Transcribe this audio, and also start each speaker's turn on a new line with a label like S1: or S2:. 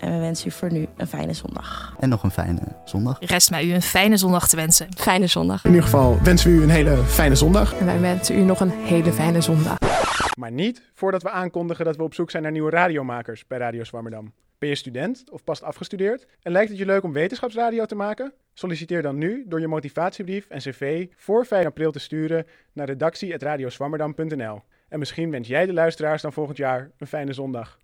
S1: En we wensen u voor nu een fijne zondag.
S2: En nog een fijne zondag.
S3: Rest mij u een fijne zondag te wensen.
S1: Fijne zondag.
S4: In ieder geval wensen we u een hele fijne zondag.
S5: En wij wensen u nog een hele fijne zondag.
S4: Maar niet voordat we aankondigen dat we op zoek zijn naar nieuwe radiomakers bij Radio Zwammerdam. Ben je student of pas afgestudeerd en lijkt het je leuk om wetenschapsradio te maken? Solliciteer dan nu door je motivatiebrief en cv voor 5 april te sturen naar redactie@radioswammerdam.nl. En misschien wens jij de luisteraars dan volgend jaar een fijne zondag.